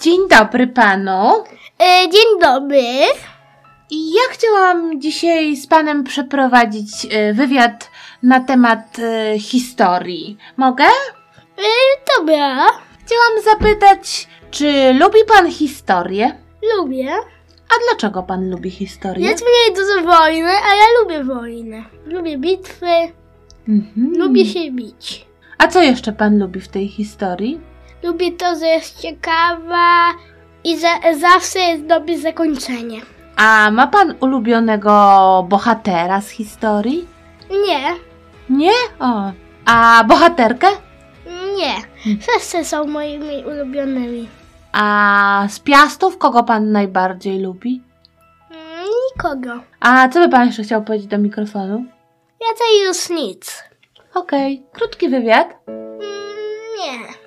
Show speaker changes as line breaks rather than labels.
Dzień dobry panu.
E, dzień dobry.
I ja chciałam dzisiaj z panem przeprowadzić e, wywiad na temat e, historii. Mogę?
E, dobra,
Chciałam zapytać, czy lubi pan historię?
lubię.
A dlaczego pan lubi historię?
Jest mniej dużo wojny, a ja lubię wojnę. Lubię bitwy,
Mhm.
lubię się bić.
A co jeszcze pan lubi w tej historii?
Lubię to, że jest ciekawa i za, zawsze jest dobre zakończenie.
A ma pan ulubionego bohatera z historii?
Nie,
Nie? O. A bohaterkę?
nie. Wszyscy są moimi ulubionymi.
A z piastów kogo pan najbardziej lubi?
Mm, Nikogo.
A co by pan jeszcze chciał powiedzieć do mikrofonu?
Ja to już nic.
Okej, krótki wywiad.
Mm, Nie.